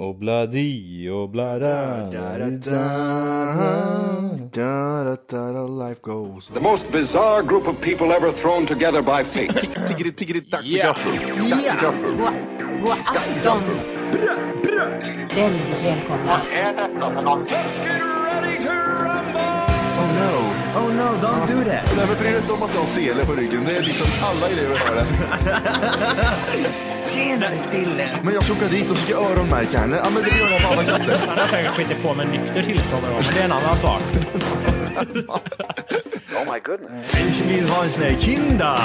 Obladi, oblada, da, da, da, da, da, da, life goes The most bizarre group of people ever thrown together by fate. Tiggeri, tiggeri, tack för gaffel. Tack för gaffel. God, god afton! Väldigt välkomna. Oh no. Oh no, don't do that. Nej men bry dig inte om att du har sele på ryggen. Det är liksom alla elever har det. Tjena Dille! Men jag ska åka dit och ska öronmärka henne. Ja men det gör jag på alla katter. Han har säkert skitit på med nykter tillstånd och men det är en annan sak. Ich will ha en sån här kinda.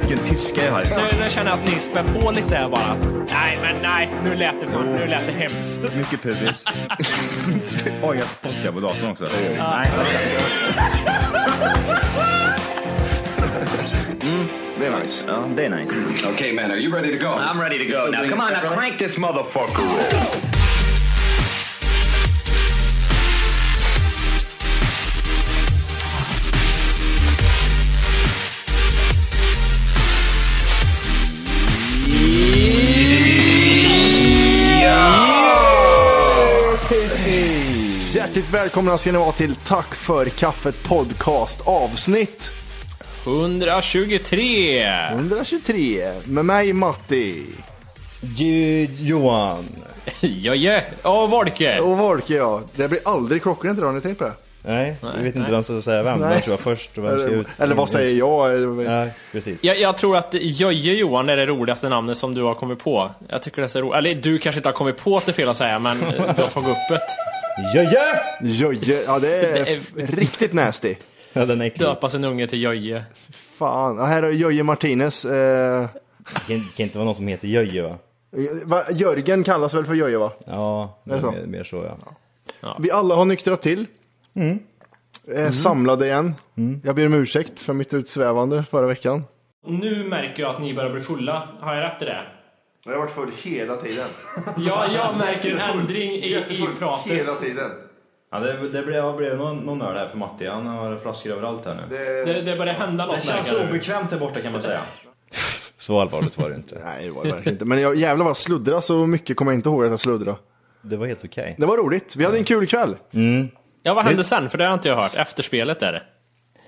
Vilken tyska jag har. Nu, nu känner jag att ni spär på lite här bara. Nej, men nej, nu lät det, för, nu lät det hemskt. Mycket pubis. Oj, jag spottar på datorn också. Nej, Det är nice. Ja, det är nice. okay, man, are you ready to go? I'm ready to go. Now, come on, now crank this motherfucker. Hjärtligt välkomna ska ni vara till Tack för kaffet podcast avsnitt 123! 123 med mig Matti Johan. Ja, ja. Och Volke! och Volke ja. Det blir aldrig klockrent idag, har ni tänkt på det? Nej, vi vet inte vem som ska säga vem. Vem ska vara först och vem ska Eller, ut? eller vad säger jag? Eller- Nej, precis. Jag, jag tror att Jöje Johan är det roligaste namnet som du har kommit på. Jag tycker det är så roligt. Eller du kanske inte har kommit på att det är fel att säga, men du har tagit upp det. Jöjö! Jöjje, ja det är, Det är- f- riktigt nasty. Ja, den är äcklig. Döpa sin unge till Jöje. Fan, Ja, här har Jöje Martinez. Eh, Det kan, det kan inte vara någon som heter Jöjö va? va, Jörgen kallas väl för Jöje va? Ja, det Är det är så? mer, mer så ja. Vi alla har nyktrat till. Eh, Samlade igen. Jag ber om ursäkt för mitt utsvävande förra veckan. Nu märker jag att ni börjar bli fulla. Har jag rätt i det? Jag har varit full hela tiden. Ja, jag märker en ändring i, i pratet. tiden. Ja, det, det blev, det blev någon, någon öl här för Matti. Han har flaskor överallt här nu. Det, Det, det börjar hända något märker jag nu. obekvämt här borta kan man säga. Så allvarligt var det inte. Nej, det var det verkligen inte. Men jag, jävlar vad jag sluddrade så mycket kommer jag inte ihåg att jag sluddrade. Det var helt okej. Det var roligt. Vi hade en kul kväll. Ja, vad hände sen? För det har inte jag hört. Efterspelet är det.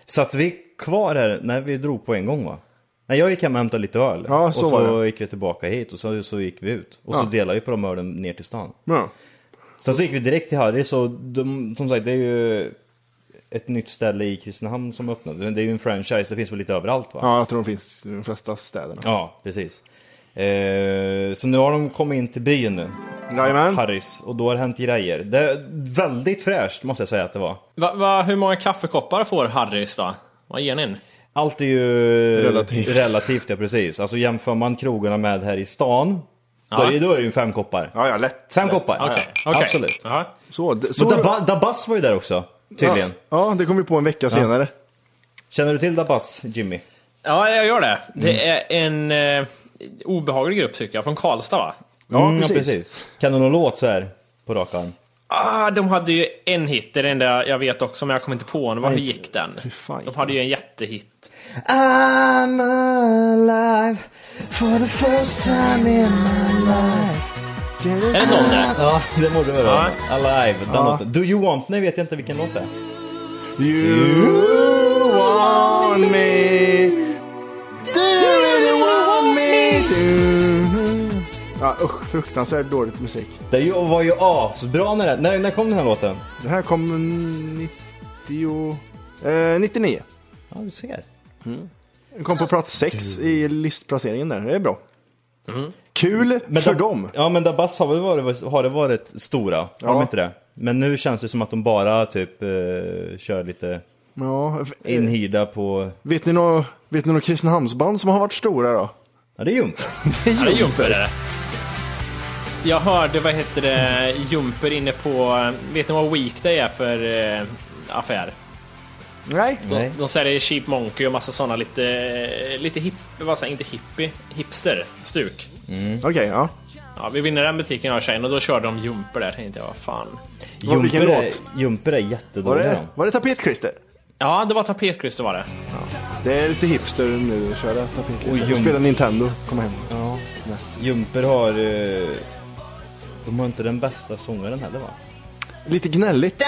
Satt vi kvar här? Nej, vi drog på en gång va? Nej, jag gick hem och hämtade lite öl. Ja, så och så var det. gick vi tillbaka hit och så, så gick vi ut. Och Ja. så delade vi på de ölen ner till stan. Ja. Sen så gick vi direkt till Harry så de, som sagt det är ju ett nytt ställe i Kristinehamn som öppnats. Det är ju en franchise, det finns väl lite överallt va? ja, jag tror de finns i de flesta städerna. Ja, precis. Eh, så nu har de kommit in till byn nu, Jajamän. Harrys, och då har det hänt grejer. Det är väldigt fräscht måste jag säga att det var. Va, va, hur många kaffekoppar får Harrys då? Vad ger ni? Allt är ju Relativt. relativt ja, precis. Alltså jämför man krogarna med här i stan, då, Ja. är, det- då är det ju fem koppar. Ja, ja, lätt. Fem koppar, Okej, ja. okej. absolut. Ja. Så, d- så Så Daba- Dabas var ju där också, tydligen. Ja, det kom vi på en vecka senare. Känner du till Dabas, Jimmy? ja, jag gör det. Det är en eh, obehaglig grupp tycker jag, från Karlstad va? Ja, Mm, precis. Kan du någon låt så här på rak arm? Ah, de hade ju en hit, det är det enda jag vet också, men jag kommer inte på den. Vad- Hur gick den? fan gick De hade ju en jättehit. I'm alive for the first time in my life Är det någon där? Ja, det borde väl vara. Ja. Alive, den låten. Do you want me vet jag inte vilken låt det är. You want me. Do you really want me? Ja, usch, fruktansvärt dåligt musik. Det ju- var ju asbra när den... När, när kom den här låten? Det här kom 90... Eh, 99. Ja, du ser. Den kom på plats 6 i listplaceringen där. Det är bra. Kul för Da- dem. Ja, Mm. men Dabas har väl varit, har det varit stora? Har de inte det? Men nu känns det som att de bara typ eh, kör lite Ja, f- inhida på... vet ni några vet ni nå Kristinehamnsband som har varit stora då? Ja, det är Jumper. Ja, det är Jumper det. Jag hörde, vad heter det, Jumper inne på, vet ni vad Weekday är för eh, affär? Nej. Nej. De säljer Cheap Monkey och massa sådana lite, lite hipp, vad säger jag, inte hippie, hipster stuk. Mm. Okej, ja. Ja, vi vinner den butiken jag och tjejen och då körde de Jumper där tänkte jag, vad fan. Vad- vilken Jumper är, låt? Jumper är Var jättedålig. det, de. var det tapetklister? Ja, det var tapetkryster var det. Det är lite hipster nu att köra Och tapetklister. jum- Och spela Nintendo. Kom hem. Jumper har... Eh, de har inte den bästa sångaren heller va? Lite gnälligt.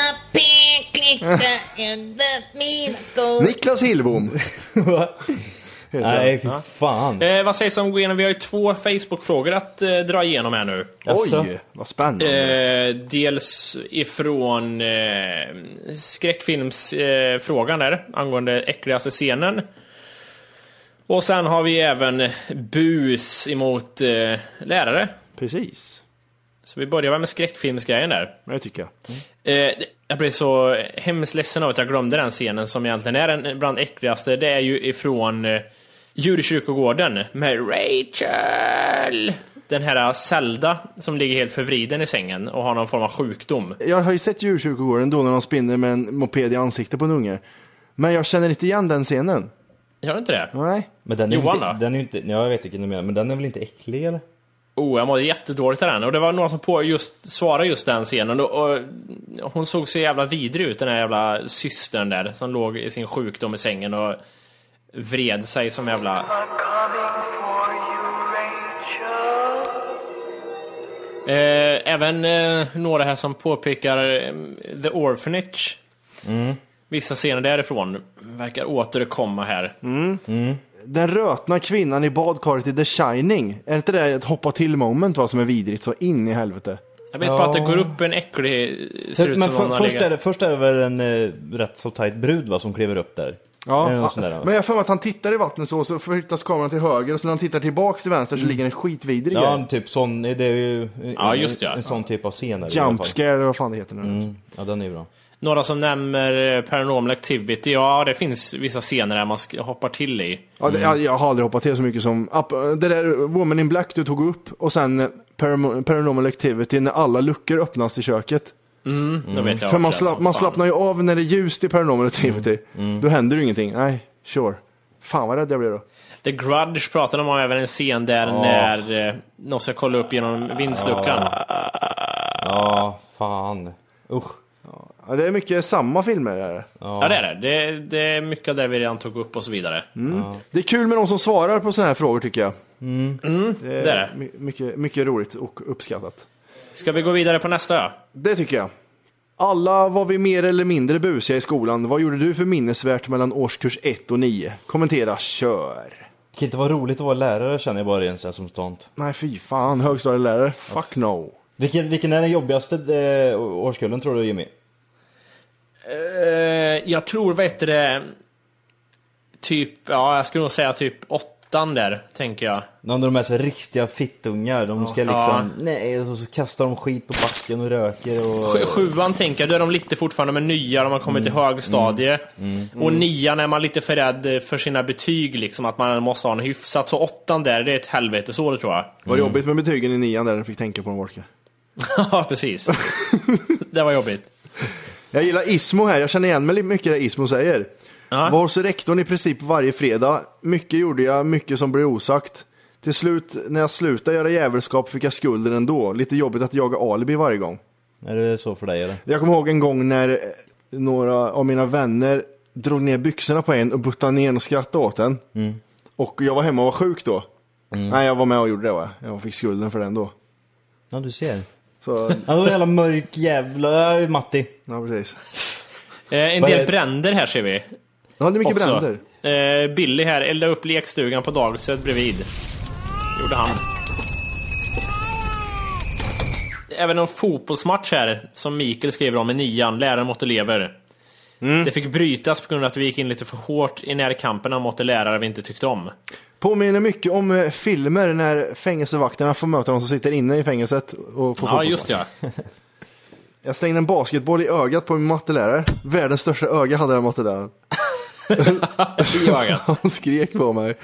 Niklas Hillbom. Heter han. Nej, fy fan. Eh, vad sägs om att gå igenom, vi har ju två Facebook-frågor att eh, dra igenom här nu. Jaså? Oj, vad spännande. Eh, dels ifrån eh, skräckfilmsfrågan eh, frågan där angående äckligaste scenen. Och sen har vi även bus emot eh, lärare. Precis. Så vi börjar väl med skräckfilmsgrejen där. Det tycker jag. Eh, jag blev så hemskt ledsen av att jag glömde den scenen som egentligen är den bland äckligaste. Det är ju ifrån eh, djurkyrkogården med Rachel! Den här Zelda som ligger helt förvriden i sängen och har någon form av sjukdom. Jag har ju sett djurkyrkogården då när de spinner med en moped i ansiktet på en unge. Men jag känner inte igen den scenen. Gör du inte det? Nej. Men den är ju Johan, inte, då? den är ju inte, ja, jag vet vilken du menar, men den är väl inte äcklig eller? Oh, jag mådde jättedåligt av den. Och det var någon som på just, svarade just den scenen. Och, och, hon såg så jävla vidrig ut, den här jävla systern där som låg i sin sjukdom i sängen och vred sig som jävla... Eh, även eh, några här som påpekar eh, The Orphanage. Mm. Vissa scener därifrån verkar återkomma här. Den rötna kvinnan i badkaret i The Shining. Är inte det ett hoppa till moment va, som är vidrigt så in i helvete? Jag vet bara att det går upp en äcklig... Ser ut men som för, någon har först, legat- är det, först är det väl en eh, rätt så tajt brud va, som kliver upp där? Eller något sånt där, va? Men jag har för mig att han tittar i vattnet så, så förflyttas kameran till höger och sen när han tittar tillbaks till vänster så ligger en skitvidrig Mm. Ja, ja, en typ sån, det är ju Ja, en, just det, ja. en sån typ av scen. där i alla Jump fall. Mm. scare eller vad fan det heter nu. Ja, den är ju bra. Några som nämner eh, Paranormal Activity. Ja, det finns vissa scener där man sk- hoppar till i. Ja, det, jag, jag har aldrig hoppat till så mycket som... app- Det där Woman in Black du tog upp och sen eh, Param- Paranormal Activity när alla luckor öppnas i köket. Mm. vet jag För man, också slapp, att- man fan. Mm. slappnar ju av när det är ljust i Paranormal Activity. Då händer ju ingenting. Nej, sure. Fan vad rädd jag blev då. The Grudge pratade om även en scen där när eh, någon ska kolla upp genom vindsluckan. Ja, fan. Usch. Ja, det är mycket samma filmer. Är det. Ja, det är det. det. Det är mycket av det vi redan tog upp och så vidare. Mm. det är kul med de som svarar på sådana här frågor tycker jag. Det är det. My- mycket, mycket roligt och uppskattat. Ska vi gå vidare på nästa? Det tycker jag. Alla var vi mer eller mindre busiga i skolan. Vad gjorde du för minnesvärt mellan årskurs 1 och 9? Kommentera, kör. Det kan inte vara roligt att vara lärare känner jag bara rent så här som stant. Nej, fy fan. Högstadielärare? Fuck no. Vilken, vilken är den jobbigaste eh, årskullen tror du Jimmy? Eh, jag tror, vad heter det? Typ, ja, jag skulle nog säga typ åttan där, tänker jag. När de är så här riktiga fittungar, de ska liksom, nej, och så kastar de skit på backen och röker och... Sj- Sjuan tänker jag, då är de lite fortfarande med nya, de har kommit till högstadie. Och nian är man lite för rädd eh, för sina betyg, liksom, att man måste ha en hyfsat. Så åttan där, det är ett helvetesår tror jag. Var det jobbigt med betygen i nian där? Jag fick tänka på dem orka. Ja, precis. det var jobbigt. Jag gillar Ismo här, jag känner igen mig lite mycket i det Ismo säger. Ja. Var hos rektorn i princip varje fredag. Mycket gjorde jag, mycket som blev osagt. Till slut, när jag slutade göra jävelskap fick jag skulden ändå. Lite jobbigt att jaga alibi varje gång. Är det så för dig eller? Jag kommer ihåg en gång när eh, några av mina vänner drog ner byxorna på en och buttade ner en och skrattade åt en. Mm. Och jag var hemma och var sjuk då. Nej, jag var med och gjorde det va? Jag fick skulden för den då. Ja, du ser. Så, Ja, det var en jävla mörk jävla... Ja, Matti. ja precis. Eh, en Vad del är- bränder här ser vi. Jag hade mycket Också. bränder. Eh, Billy här eldade upp lekstugan på dagiset bredvid. gjorde han. Även en fotbollsmatch här, som Mikael skriver om i nian, läraren mot elever. Mm. Det fick brytas på grund av att vi gick in lite för hårt i närkamperna mot de lärare vi inte tyckte om. Påminner mycket om eh, filmer när fängelsevakterna får möta de som sitter inne i fängelset. Och på Ja, just det, ja. Jag slängde en basketboll i ögat på min mattelärare. Världens största öga hade den matteläraren. I ögat. Han skrek på mig.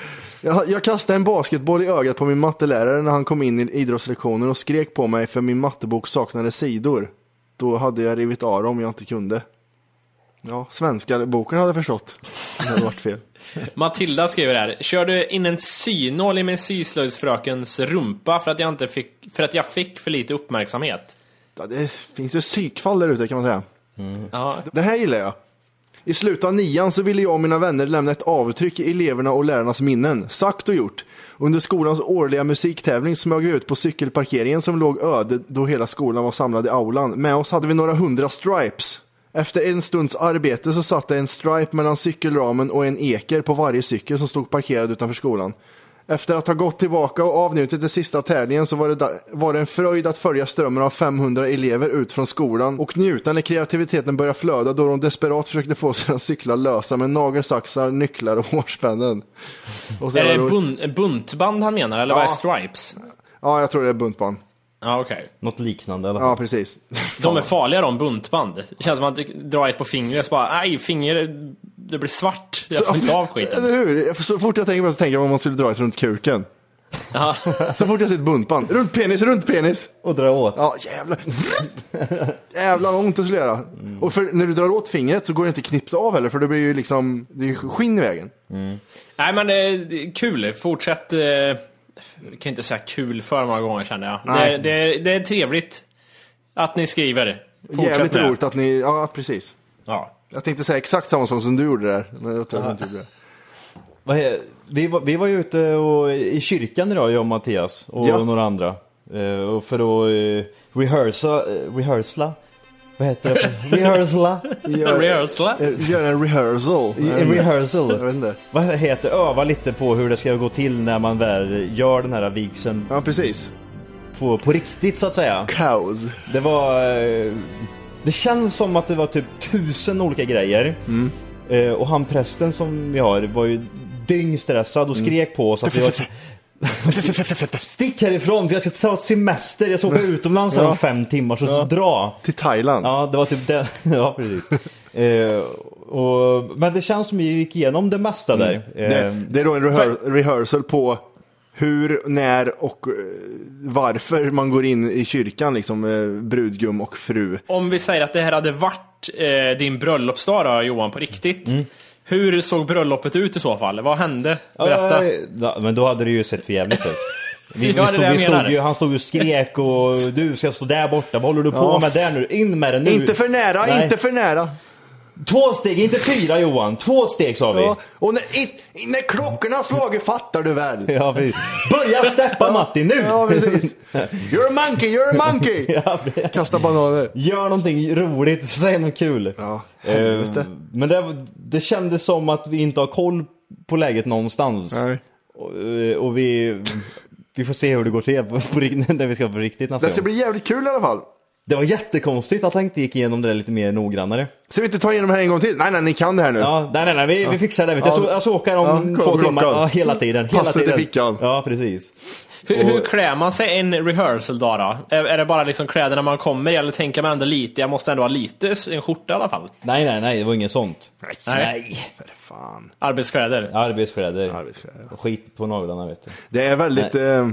Jag, jag kastade en basketboll i ögat på min mattelärare när han kom in i idrottslektionen och skrek på mig för min mattebok saknade sidor. Då hade jag rivit av dem jag inte kunde. Ja, svenska boken hade jag förstått. Det hade varit fel. Matilda skriver här. Körde in en synål i min syslöjdsfrökens rumpa för att, jag inte fick, för att jag fick för lite uppmärksamhet. Ja, Det finns ju psykfall där ute kan man säga. Ja, Det här gillar jag. I slutet av nian så ville jag och mina vänner lämna ett avtryck i eleverna och lärarnas minnen. Sagt och gjort. Under skolans årliga musiktävling smög vi ut på cykelparkeringen som låg öde då hela skolan var samlad i aulan. Med oss hade vi några hundra stripes. Efter en stunds arbete så satt det en stripe mellan cykelramen och en eker på varje cykel som stod parkerad utanför skolan. Efter att ha gått tillbaka och avnjutit den sista tävlingen så var det, da- var det en fröjd att följa strömmen av 500 elever ut från skolan och njuta när kreativiteten började flöda då de desperat försökte få sina cyklar lösa med nagelsaxar, nycklar och hårspännen. Och så Är det jävla roligt. bun- buntband han menar, eller vad är stripes? ja, jag tror det är buntband. Ja, okej. Något liknande i alla fall. Ja, precis. De är farliga de, buntband. Det känns som att man drar ett på fingret så bara, aj, finger, det blir svart. Jag får inte av skiten. Eller hur? Så fort jag tänker på det så tänker jag om man skulle dra ett runt kuken. Ja. Så fort jag ser ett buntband. Runt penis, runt penis! Och dra åt. Ja, jävlar. jävlar vad ont det skulle göra. Och för, när du drar åt fingret så går det inte att knipsa av heller, för det blir ju liksom, det är ju skinn i vägen. Nej men eh, det är kul, fortsätt. eh, Jag kan inte säga kul för många gånger känner jag. Det, Nej. det, är- det är trevligt att ni skriver. Fortsätt Jävligt med roligt det. att ni, ja precis. Ja. Jag tänkte säga exakt samma sak som du gjorde där, men jag tror att jag inte gjorde det. Vad he- Vi, var, vi var ju ute och, i kyrkan idag, jag och Mattias och Ja. några andra. Eh, och för att eh, rehearsa, eh, rehearsla. Vad heter det? rehearsla? Rehearsla. Eh, Gör en rehearsal. I- En Jag vet rehearsal. inte. Vad heter Öva lite på hur det ska gå till när man väl gör den här vigseln Ja precis. på, på riktigt så att säga. Cows. Det var... eh, Det känns som att det var typ tusen olika grejer. Mm. Eh, Och han prästen som vi har var ju dyngstressad Mm. och skrek på oss att vi var... Stick härifrån för jag ska ta semester, jag ska åka utomlands här om fem timmar så dra. Till Thailand. Ja, det var typ det. Ja, precis. Eh, och, men det känns som vi gick igenom det mesta där. Mm. Det, Eh, det är då en rehear- rehearsal på hur, när och eh, varför man går in i kyrkan, liksom eh, brudgum och fru. Om vi säger att det här hade varit eh, din bröllopsdag då, Johan, på riktigt. Mm. Hur såg bröllopet ut i så fall? Vad hände? Berätta. Eh, Ja, men då hade det ju sett för jävligt ut. Vi, Ja, vi det stod, där vi menar. stod ju, han stod ju och skrek och du ska stå där borta, vad håller du på med där nu? In med den nu! Inte för nära, Nej. inte för nära. Två steg, inte fyra Johan! Två steg sa vi! Ja. Och när, i, när klockorna har slagit fattar du väl? Ja, precis. Börja steppa Matti nu! Ja, precis. You're a monkey, you're a monkey! Kasta bananer. Gör någonting roligt, säg något kul! Ja, eh, helvete. men det, det kändes som att vi inte har koll på läget någonstans. Nej. Och, eh, och vi, vi får se hur det går till på, på, rikt- när vi ska på riktigt Det nästa ska gång. bli jävligt kul i alla fall. Det var jättekonstigt att han inte gick igenom det där lite mer noggrannare. Ska vi inte ta igenom det här en gång till? Nej, nej, ni kan det här nu. Ja, nej, nej, nej, vi, vi fixar det. vet du. Jag, Ja. så, jag ska åka om Ja, kolla två klockan. timmar. Ja, hela tiden. Hela Passet i tiden. fickan. Ja, precis. Hur, hur klär man sig en rehearsal dag då? Är, är det bara liksom kläderna man kommer i, eller tänker man ändå lite, jag måste ändå ha lite, s- en skjorta i alla fall? Nej, nej, nej, det var inget sånt. Nej. För fan. Arbetskläder. Arbetskläder. Arbetskläder, Och Skit på naglarna, vet du. Det är väldigt... Eh,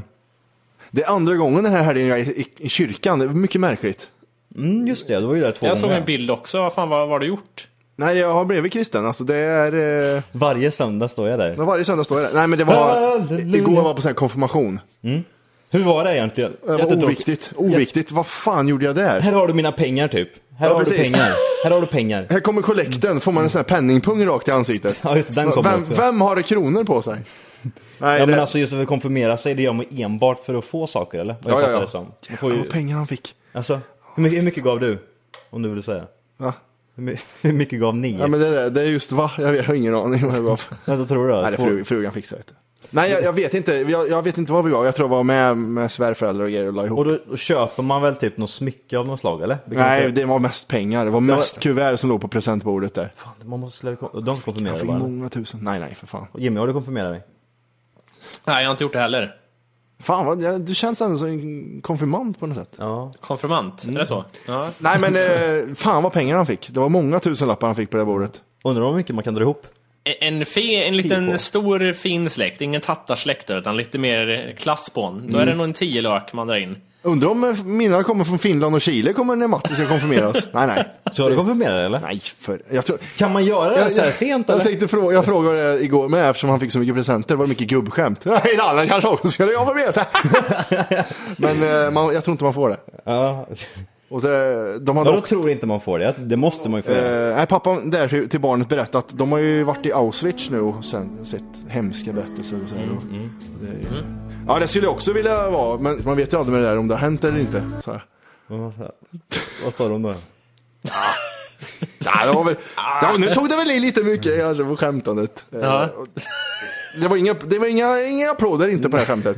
det är andra gången den här helgen jag är i, i kyrkan. Det är mycket märkligt. Mm, just det, det var ju där två Jag såg gånger. en bild också, vad fan vad, vad har du gjort? Nej, jag har blivit kristen. Alltså, det är... Eh, Varje söndag står jag där. Men varje söndag står jag där. Nej men det var, Halleluja. igår var jag på sån här konfirmation. Hur var det egentligen? Det var Jättetråkigt. oviktigt, oviktigt. Vad fan gjorde jag där? Här har du mina pengar, typ. Här Ja, har precis. du pengar. Här har du pengar. Här kommer kollekten, får man en sån här penningpung rakt i ansiktet. Ja, just det, den kommer vem, också. vem har kronor på sig? Nej, Ja, det, men alltså just att konfirmera sig, det gör man enbart för att få saker, eller? Vad jag Ja, ja, fattar ja. det som. Man får ju, vad pengar han fick. alltså, hur mycket, hur mycket gav du? Om du vill säga. Va? Hur my- Hur mycket gav ni? Ja, men det, där, det är just va? Jag, vet, jag har ingen aning vad jag gav. Vad tror du då? Nej, det Två- frug, frugan fixade det. Nej, jag, jag vet inte. Jag, jag vet inte vad vi var. Jag tror jag var med, med svärföräldrar och grejer och la ihop. Och då, då köper man väl typ något smycke av något slag eller? Det kan Nej, inte- det var mest pengar. Det var mest var- kuvert som låg på presentbordet där. Fan, man måste lära kom... De Jag konfirmerar fick bara. eller? många tusen. Nej, nej, för fan. Jimmy, har du konfirmerat dig? Nej, jag har inte gjort det heller. Fan, vad, jag, du känns ändå som en konfirmand på något sätt. Ja. Konfirmant, är det Mm. så? Ja. Nej, men eh, fan vad pengar han fick. Det var många tusen lappar han fick på det bordet. Undrar hur mycket man kan dra ihop? En, fi, en liten Fipå. stor fin släkt, ingen tattarsläkt utan lite mer klasspån. Då är Mm. det nog en tiolök man drar in. Undrar om eh, mina kommer från Finland och Chile kommer när Matti ska konfirmeras. nej, nej. Så har du konfirmerat dig eller? Nej, för... Jag tror... Kan man göra det så här sent jag, eller? tänkte fråga, jag frågade det igår med eftersom han fick så mycket presenter. Var det mycket gubbskämt? Nej, en annan kanske också skulle jag få med sig. Men eh, man, jag tror inte man får det. Ja. Och det, de har Vadå dock, tror inte man får det? Det måste man ju få göra. eh, nej, pappan där till- till barnet berättat att de har ju varit i Auschwitz nu och sen sett hemska berättelser och så här. Mm, Och Det är ju... Ja, det skulle jag också vilja vara, men man vet ju aldrig med det där om det har hänt eller inte. Så här. Men vad fan- Vad sa de då? Nej, det var väl, ja, nu tog det väl i lite mycket kanske på skämtandet. Eh, Ja. och- Det var, inga, det var inga, inga applåder inte på det här skämtet.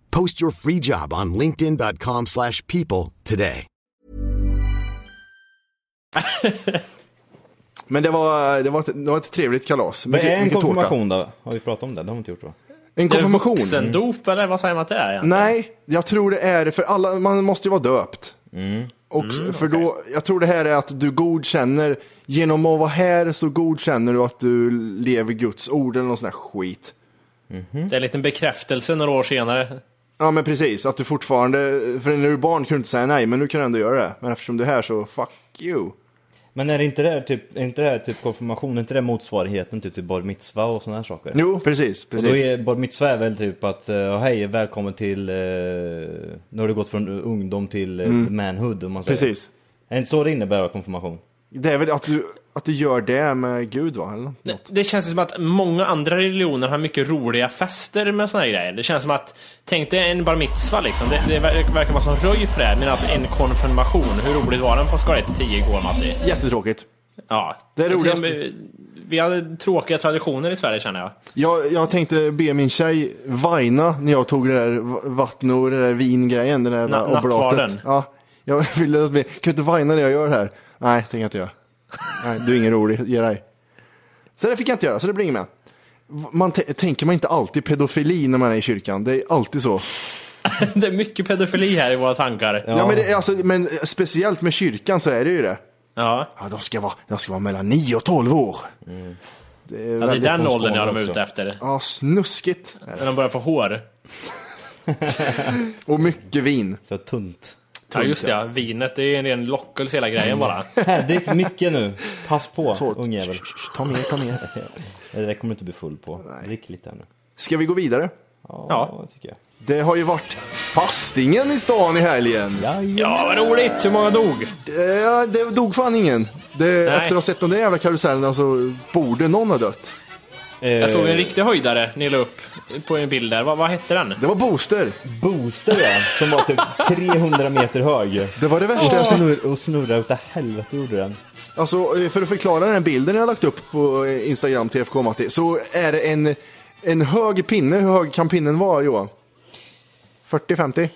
Post your free job on linkedin.com/people slash people today. Men det var, det var, ett, det var ett trevligt kalas. Vad Mycket- är en mycket tårta. konfirmation då? Har vi pratat om det? Det har vi inte gjort va? En Det är konfirmation? Vuxendop eller vad säger man att det är? egentligen? Nej, jag tror det är för alla, man måste ju vara döpt. Mm. Och Mm, för då, jag tror det här är att du godkänner, genom att vara här så godkänner du att du lever Guds ord eller någon sån här skit. Det är en liten bekräftelse några år senare. Ja men precis, att du fortfarande, för när du är barn kunde du inte säga nej, men nu kan du ändå göra det. Men eftersom du är här så, fuck you. Men är det inte det här typ, är inte det här typ konfirmation, är inte det motsvarigheten till typ bar mitzva och sådana här saker? Jo, Typ. precis, Och precis. då är bar mitzva är väl typ att, eh, ja hej, välkommen till, eh, nu har du gått från ungdom till eh, manhood om man säger. Precis. Är det inte så det innebär konfirmation? Det är väl att du, att du gör det med Gud va? Eller? Det, det känns som att många andra religioner har mycket roliga fester med såna här grejer. Det känns som att, tänk dig en bar mitzva liksom. Det, det ver- verkar vara som röj på det här. Medan en konfirmation, hur roligt var den på en skala 1 till 10 igår Matti? Jättetråkigt. Ja. Det är Jag roligast. tycker- Vi hade tråkiga traditioner i Sverige känner jag. Jag, jag tänkte be min tjej vajna när jag tog det där va- vattnet och det där vingrejen, den där Na- oblatet. nattvarden. Ja, jag ville att be, kan du inte vajna det jag gör här? Nej, tänker jag inte göra. Nej, du är ingen rolig, ge dig. Så det fick jag inte göra, så det blir inget med. V- Man t- tänker man inte alltid pedofili när man är i kyrkan? Det är alltid så. Det är mycket pedofili här i våra tankar. Ja, men, det, är alltså, men speciellt med kyrkan så är det ju det. Ja. Ja, de ska vara, de ska vara mellan 9 och 12 år. Det är, Ja, det är väldigt Alltså, den konstigt. åldern jag de är också. ute efter. Ja, snuskigt. När de börjar få hår. Och mycket vin. Så tunt. Ja just det, ja. vinet det är ju en ren lockelse hela grejen bara. Mm. Här, drick mycket nu. Pass på Så, ungjävel. Ta med, ta med. Det där kommer du inte bli full på. Drick lite här nu. Ska vi gå vidare? Ja, Ja. tycker jag. Det har ju varit fastingen i stan i helgen. Ja vad roligt, hur många dog? Eh, det dog fan ingen. Det, Nej. efter att ha sett de där jävla karusellerna så borde någon ha dött. Eh. Jag såg en riktig höjdare ni la upp på en bild där. Vad, vad hette den? Det var Booster. Booster ja, som var typ 300 meter hög. Det var det värsta Och, jag sett. snurr, och snurrar utav helvete gjorde den. Alltså, eh, för att förklara den här bilden jag har lagt upp på eh, Instagram, TFK Matti, så är det en, en hög pinne. Hur hög kan pinnen vara Johan? 40-50?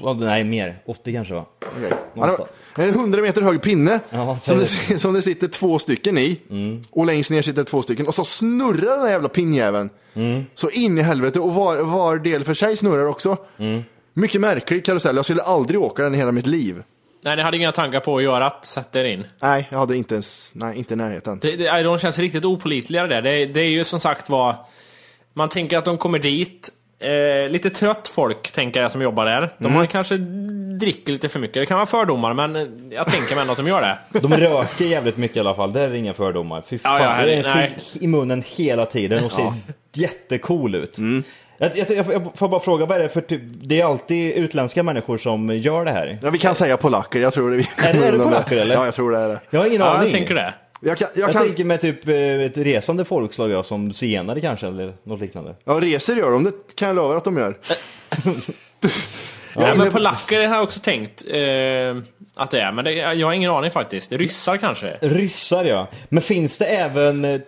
Vad- Nej, mer. 80 kanske va? Okej. Han har En 100 meter hög pinne som, det, som det sitter två stycken i. Mm. Och längst ner sitter två stycken. Och så snurrar den här jävla pinnjäveln. Mm. Så in i helvete. Och var, var del för sig snurrar också. Mm. Mycket märklig karusell. Jag skulle aldrig åka den i hela mitt liv. Nej, ni hade inga tankar på att göra att sätta er in. Nej, jag hade inte ens, nej, inte i närheten. Det, det, de känns riktigt opolitliga det där. Det, det är ju som sagt vad... Man tänker att de kommer dit, eh, lite trött folk tänker jag som jobbar där. De Mm. har kanske dricker lite för mycket. Det kan vara fördomar, men eh, jag tänker mig ändå att de gör det. De röker jävligt mycket i alla fall, det är inga fördomar. Fy fan, Ja, ja, det är en nej. cigg i munnen hela tiden och ser jättecool ut. Mm. Jag, jag, jag, får- jag får bara fråga, vad är det för typ, det är alltid utländska människor som gör det här? Ja, vi kan säga polacker, jag tror det. Vi Är det- är det polacker, eller? Ja, jag tror det är det. Jag har ingen Ja, aning. jag tänker det. Jag kan, jag Jag kan, tänker med typ eh, ett resande folkslag jag, som zigenare kanske eller något liknande. ja, resor gör de, det kan jag lova att de gör. Ja, inne- men polacker har jag också tänkt eh, att det är, men det, jag har ingen aning faktiskt. Ryssar kanske? Ryssar ja. Men finns det även, eh,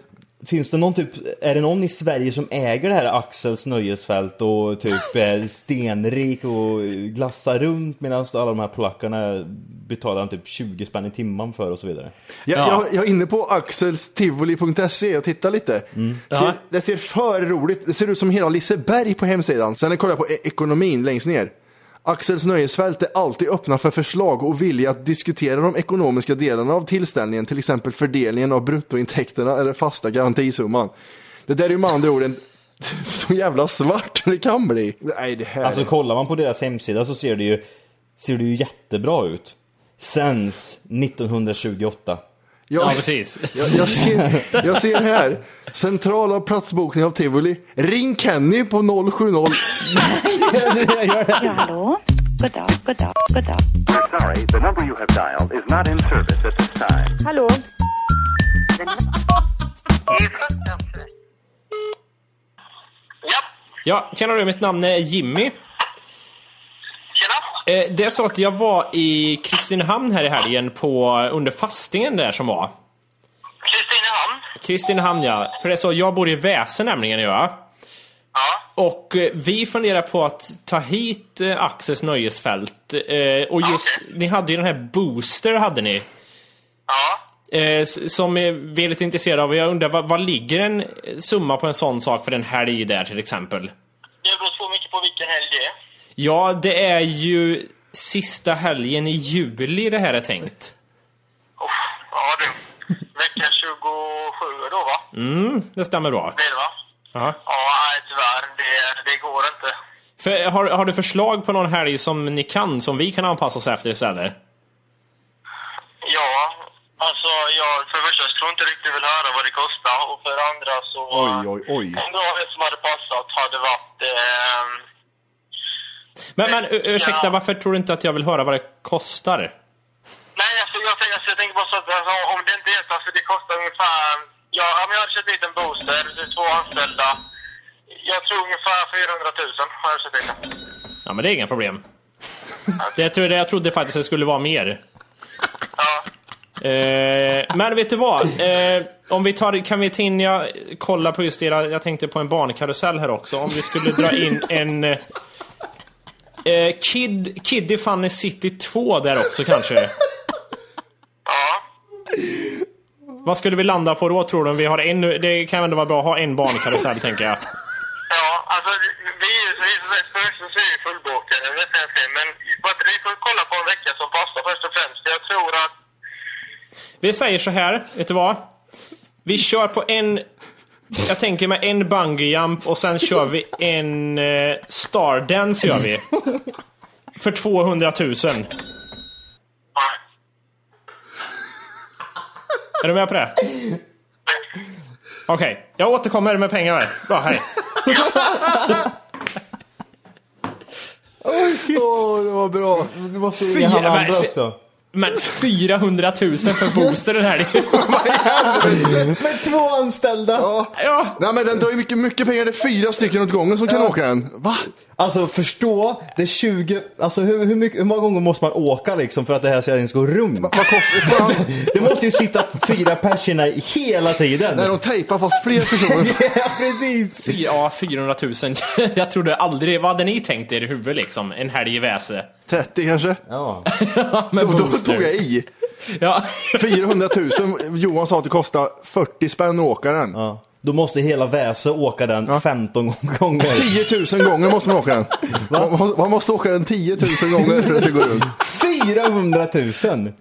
finns det någon typ, är det någon i Sverige som äger det här Axels nöjesfält och typ är stenrik och glassar runt medan alla de här polackerna betalar han typ 20 spänn i timmen för och så vidare? Jag, Ja. jag, jag är inne på axelstivoli.se och tittar lite. Mm. Ja. Ser, det ser för roligt, det ser ut som hela Liseberg på hemsidan. Sen kollar jag på e- ekonomin längst ner. Axels nöjesfält är alltid öppna för förslag och vilja att diskutera de ekonomiska delarna av tillställningen, till exempel fördelningen av bruttointäkterna eller fasta garantisumman. Det där är ju med andra ord en så jävla svart det kan bli. Nej, det här Alltså kollar man på deras hemsida så ser det ju, ser det ju jättebra ut. Sens 1928. jag, Ja, precis. Jag, jag, ser, jag ser här, central av platsbokning av Tivoli. Ring Kenny på 070. Hallå? God dag, god dag, god dag. Sorry, the number you have dialed is not in service at this time. Hallå? Ja, tjena du, mitt namn är Jimmy. Tjena. Det är så att jag var i Kristinehamn här i helgen på, under fastingen där som var. Kristinehamn? Kristinehamn ja. För det är så, jag bor i Väse nämligen gör jag. Ja. Och eh, vi funderar på att ta hit eh, Axels nöjesfält. Eh, Och just, ni hade ju den här Booster hade ni. Eh, s- som eh, vi är lite intresserade av. Jag undrar, vad, vad ligger en eh, summa på en sån sak för en helg där till exempel? Det beror så mycket på vilken helg det är. Ja, det är ju sista helgen i juli det här är tänkt. Ja du. Vecka 27 då va? Mm, det stämmer bra. Blir det va? Ja. Ja, nej tyvärr. Det, det går inte. För, har, har du förslag på någon helg som ni kan, som vi kan anpassa oss efter istället? Ja, alltså jag för det första jag tror inte riktigt vill höra vad det kostar och för det andra så... Oj, oj, oj. En bra helg som hade passat hade varit... Eh, Men, men ur- ursäkta, Ja. varför tror du inte att jag vill höra vad det kostar? nej, alltså, jag, tänker- alltså, jag tänker bara så att alltså, om det inte är så, alltså, det kostar ungefär... Ja, om jag hade köpt dit en booster, det är två anställda. Jag tror ungefär 400 000 har jag köpt dit den. Ja, men det är inga problem. Det tror jag, jag trodde faktiskt det skulle vara mer. Eh, men vet du vad? Eh, om vi tar, kan vi ta in, jag kollar på just era, jag tänkte på en barnkarusell här också. Om vi skulle dra in en... eh, Eh, Kid, Kiddy Funny City 2 där också kanske? Ja. Vad skulle vi landa på då tror du? Om Vi har en, det kan ändå vara bra att ha en barnkarusell tänker jag. Ja, alltså vi är ju vi är så- för det första så är vi fullbokade, det vet jag inte. Men vad- vi får kolla på en vecka som passar först och främst. Jag tror att, Vi säger så här, vet du vad? Vi kör på en... Jag tänker med en bungyjump och sen kör vi en eh, stardance gör vi. För 200 000. Är du med på det? Okej, jag återkommer med pengar. här. Bra, hej. Åh, det var bra. Det var Fy, han men andra se- också. Men 400 000 för booster den här. Med två anställda! Ja, Nej, men den tar ju mycket, mycket pengar. Det är fyra stycken åt gången som kan åka den. Va? Alltså förstå, det är 20, alltså hur, hur, mycket, hur många gånger måste man åka liksom för att det här ska ens gå runt? Vad kostar det? Det måste ju sitta fyra personer hela tiden. När de tejpar fast fler personer. Ja precis! fy- ja, 400 000. Jag trodde aldrig... Vad hade ni tänkt er i huvudet liksom? En helg i väse. 30 kanske? Ja. Med då, då booster. tog jag i. Ja. 400 000. Johan sa att det kostar 40 spänn att åka den. Då måste hela Väsö åka den 15 gånger. 10 000 gånger måste man åka den. Man, må- man måste åka den 10 000 gånger för att det ska gå runt. 400 000!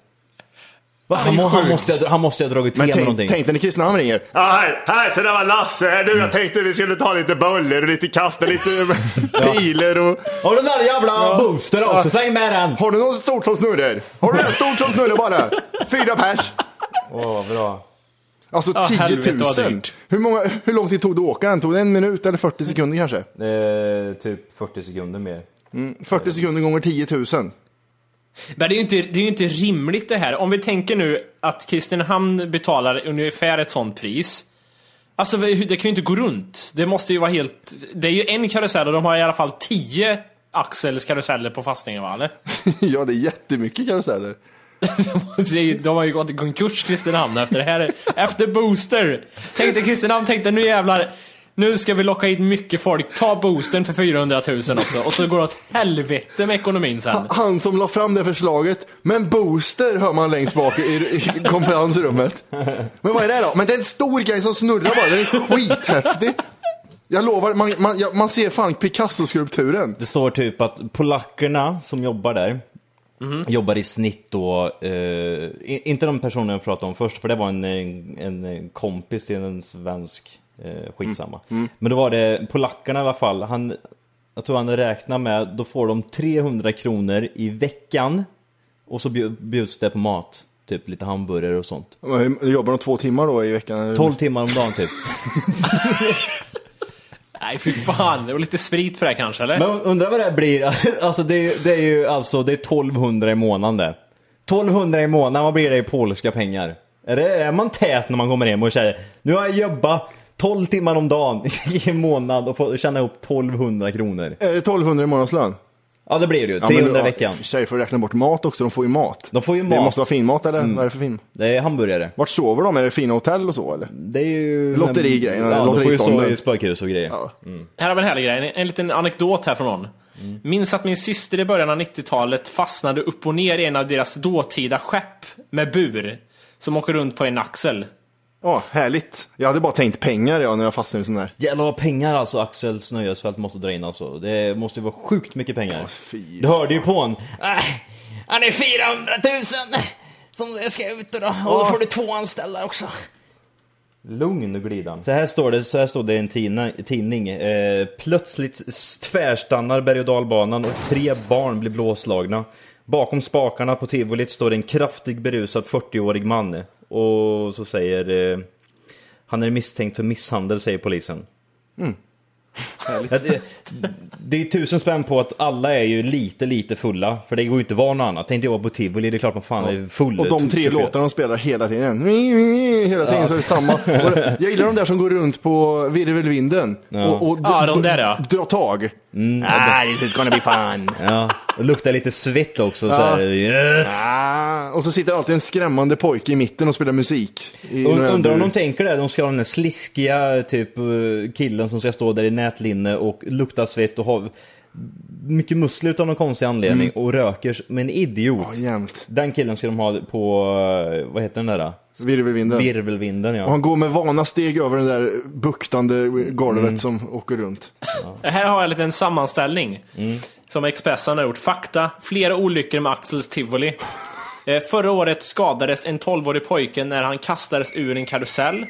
Va? Han, må, han, måste, han måste ha dragit till Men med tänk, någonting. tänk dig när Kristinehamn ringer. Ja, här, här så där var Lasse här nu. Jag tänkte vi skulle ta lite buller och lite kasta lite piler och... Har du den där jävla boostern också? Släng med den! Har du något stort som snurrar? Har du något stort som snurrar bara? Fyra pers. Åh, vad bra. Alltså Ja, 10 helvete 000. vad dyrt. hur, många, hur lång tid tog det att åka den? Tog det en minut eller 40 sekunder kanske? Eh, typ 40 sekunder mer. 40 sekunder gånger 10 000. Men det är ju inte, det är ju inte rimligt det här. Om vi tänker nu att Kristinehamn betalar ungefär ett sånt pris. Alltså det kan ju inte gå runt. Det måste ju vara helt... Det är ju en karusell och de har i alla fall tio axels karuseller på fastningen va, eller? ja, det är jättemycket karuseller. Så det är ju- De har ju gått i konkurs Kristinehamn efter det här. Efter Booster! Tänkte Kristinehamn, tänkte nu jävlar. Nu ska vi locka in mycket folk. Ta Boostern för 400 000 också. Och så går det åt helvete med ekonomin sen. Han som la fram det förslaget. Men booster hör man längst bak i, i konferensrummet. Men vad är det då? Men det är en stor grej som snurrar bara. Den är skithäftig. Jag lovar, man, man, ja, man ser fan Picasso-skulpturen. Det står typ att polackerna som jobbar där jobbar i snitt då, eh, i- inte de personerna jag pratade om först, för det var en, en, en kompis till en svensk, eh, skitsamma. Men då var det polackerna i alla fall, han, jag tror han räknar med, då får de 300 kronor i veckan och så bjud- bjuds det på mat, typ lite hamburgare och sånt. Men Jobbar de två timmar då i veckan? eller? 12 timmar om dagen typ. Nej fy fan, det var lite sprit för det här kanske eller? Men undrar vad det här blir. Alltså det, är- det är ju alltså det är 1200 i månaden det. 1200 i månaden, vad blir det i polska pengar? Är, det, är man tät när man kommer hem och säger nu har jag jobbat 12 timmar om dagen i en månad och får tjäna ihop 1200 kronor. Är det 1200 i månadslön? Ja det blir det ju, Ja, men 300 i ja, veckan. i och för sig får du räkna bort mat också, de får ju mat. De får ju Det mat. Mm. måste vara finmat eller? Vad är det för fin? Det är hamburgare. Vart sover de? Är det fina hotell och så eller? Det är ju... Lotterigrejerna, Ja, de får ju stå lotteristånden. i spökhus och grejer. Ja. Här har vi en härlig grej, en, en liten anekdot här från någon. Minns att min syster i början av 90-talet fastnade upp och ner i en av deras dåtida skepp med bur. Som åker runt på en axel. Ja, härligt. Jag hade bara tänkt pengar jag när jag fastnade i en sån där. Jävlar vad pengar alltså Axel Snöjesfält måste dra in alltså. Det måste ju vara sjukt mycket pengar. fy du hörde ju på honom. Äh, han är 400 000 som det ska ut och då. Och då får du två anställda också. Lugn nu glidan. Så här står det, så här står det i en tidna- tidning. Eh, plötsligt s- tvärstannar berg och dalbanan och tre barn blir blåslagna. Bakom spakarna på tivolit står en kraftig berusad 40-årig man. Och så säger... Eh, han är misstänkt för misshandel, säger polisen. Mm. Ja, det, det är tusen spänn på att alla är ju lite, lite fulla. För det går ju inte att vara något annat. Tänkte jag vara på tivoli, det är klart man fan är full. Och de tre 24. låtarna de spelar hela tiden. Hela tiden så är det samma. Och Jag gillar de där som går runt på virvelvinden. Och, och d- Ja, de där, ja. drar tag. Ah, this is gonna be fun. Ja, det luktar lite svett också. Så här, yes. Ah, och så sitter alltid en skrämmande pojke i mitten och spelar musik. I Und- november. Undrar om de tänker det, de ska ha den där sliskiga typ eh, killen som ska stå där i nätlinne och lukta svett och ha mycket muskler av någon konstig anledning och röker som en idiot. Mm. Ja, jämt. Den killen ska de ha på, eh, vad heter den där? då? Virvelvinden. Virvelvinden ja. Och han går med vana steg över det där buktande golvet som åker runt. Här har jag en liten sammanställning. Som Expressen har gjort. Fakta. Flera olyckor med Axels tivoli. Eh, Förra året skadades en 12-årig pojke när han kastades ur en karusell.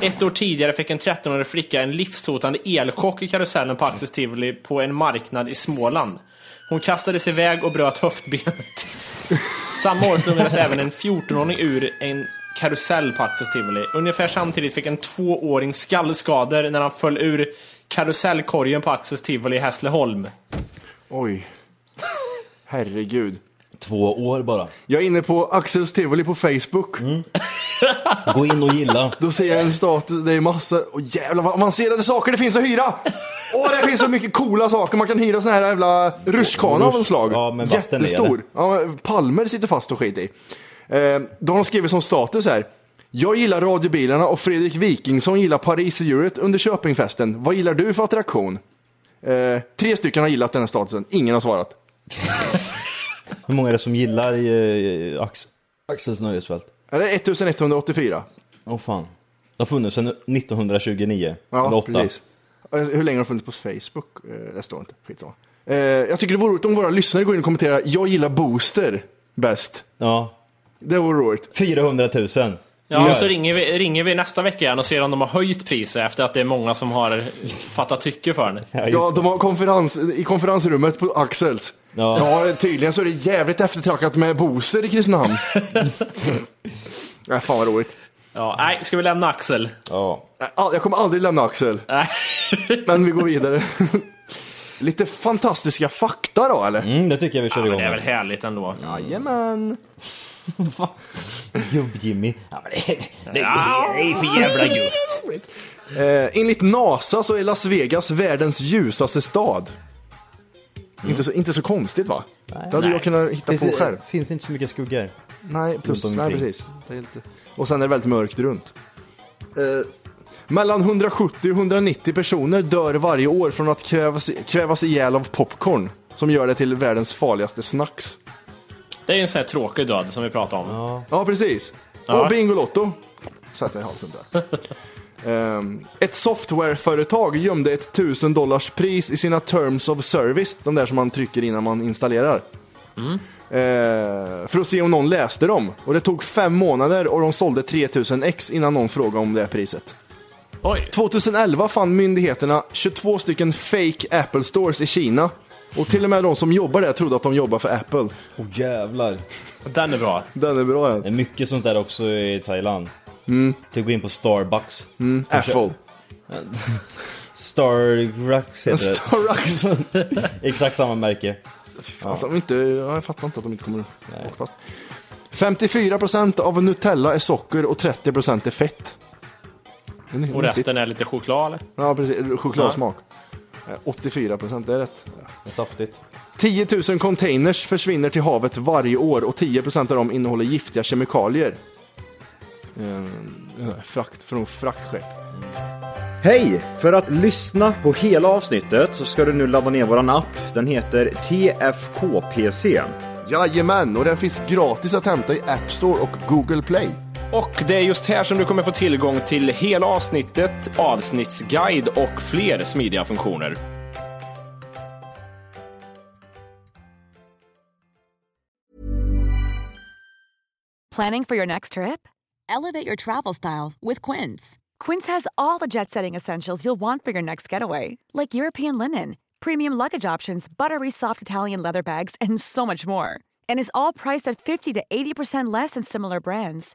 Ett år tidigare fick en 13-årig flicka en livshotande elchock i karusellen på Axels tivoli på en marknad i Småland. Hon kastades iväg och bröt höftbenet. Samma år slungades även en 14-åring ur en karusell på Axels tivoli. Ungefär samtidigt fick en tvååring skallskador när han föll ur karusellkorgen på Axels tivoli i Hässleholm. Oj. Herregud. Två år bara. Jag är inne på Axels Tivoli på Facebook. Gå in och gilla. Då ser jag en status, det är massa, åh jävlar vad avancerade saker det finns att hyra! Åh, det finns så mycket coola saker, man kan hyra såna här jävla rutschkana av en slag. Ja, med vatten i, Jättestor. Ja, men palmer sitter fast och skit i. Eh, då har de skrivit som status här. Jag gillar radiobilarna och Fredrik Wikingsson gillar Paris-djuret under Köpingfesten. Vad gillar du för attraktion? Eh, tre stycken har gillat den här statusen, ingen har svarat. Hur många är det som gillar eh, Ax- Axels nöjesfält? Eller 1184. Åh fan. Det har funnits sedan 1929. eller Ja, åtta. precis. Eh, Hur länge har de funnits på Facebook? Eh, Det står inte. Skitsamma. Eh, Jag tycker det vore roligt om våra lyssnare går in och kommenterar. Jag gillar Booster bäst. Ja. Det vore roligt. 400 000. Ja, Gör. så ringer vi, ringer vi nästa vecka igen och ser om de har höjt priset efter att det är många som har fattat tycke för den. Ja, de har konferens, i konferensrummet på Axels. Ja. Ja. tydligen så är det jävligt eftertraktat med Boser i Kristinehamn. Nej, fan vad roligt. Ja, nej, ska vi lämna Axel? Ja. All- Jag kommer aldrig lämna Axel. Men vi går vidare. Lite fantastiska fakta då, eller? Mm, det tycker jag vi kör igång Det är med. väl härligt ändå. Jajamän. Gubb-Jimmy. Ja, men det, det, det Ja. är för jävla gött. Eh, enligt NASA så är Las Vegas världens ljusaste stad. Inte, så, inte så konstigt va? det hade jag kunnat hitta på Finns- själv. Finns inte så mycket skuggor. Nej, plus, Runt nej omkring. precis. Det är lite... Och sen är det väldigt mörkt runt. Eh, mellan 170 och 190 personer dör varje år från att kvävas, kvävas ihjäl av popcorn. Som gör det till världens farligaste snacks. Det är ju en sån här tråkig död som vi pratade om. Ja, precis. Ja. Och Bingolotto. Sätt mig i halsen där. Ehm, ett softwareföretag gömde ett 1000 dollars pris i sina terms of service, de där som man trycker innan man installerar. Ehm, för att se om någon läste dem. Och det tog fem månader och de sålde 3000 ex innan någon frågade om det här priset. Oj, 2011 fann myndigheterna 22 stycken fake Apple stores i Kina. Och till och med de som jobbar där trodde att de jobbar för Apple. Åh jävlar. den är bra. Den är bra den. Det är mycket sånt där också i Thailand. Mm. Typ gå in på Starbucks. Mm, Apple. Starbucks heter det. Starbucks. Exakt samma märke. Fan, att de inte, ja, jag fattar inte att de inte kommer åka fast. 54% av Nutella är socker och 30% är fett. Det är Och nyttigt. resten är lite choklad eller? Ja, precis. Chokladsmak. Eh, 84% det är rätt. Det är Saftigt. 10 000 containers försvinner till havet varje år och 10% av dem innehåller giftiga kemikalier. Eh, eh, Frakt, från fraktskepp. Hej! För att lyssna på hela avsnittet så ska du nu ladda ner våran app. Den heter TFKPC. Jajamän, och den finns gratis att hämta i App Store och Google Play. Och det är just här som du kommer få tillgång till hela avsnittet, avsnittsguide och fler smidiga funktioner. Planning for your next trip? Elevate your travel style with Quince. Quince has all the jet setting essentials you'll want for your next getaway, like European linen, premium luggage options, buttery soft Italian leather bags, and so much more. And is all priced at 50 to 80% less than similar brands.